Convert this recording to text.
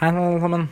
Hei, alle sammen.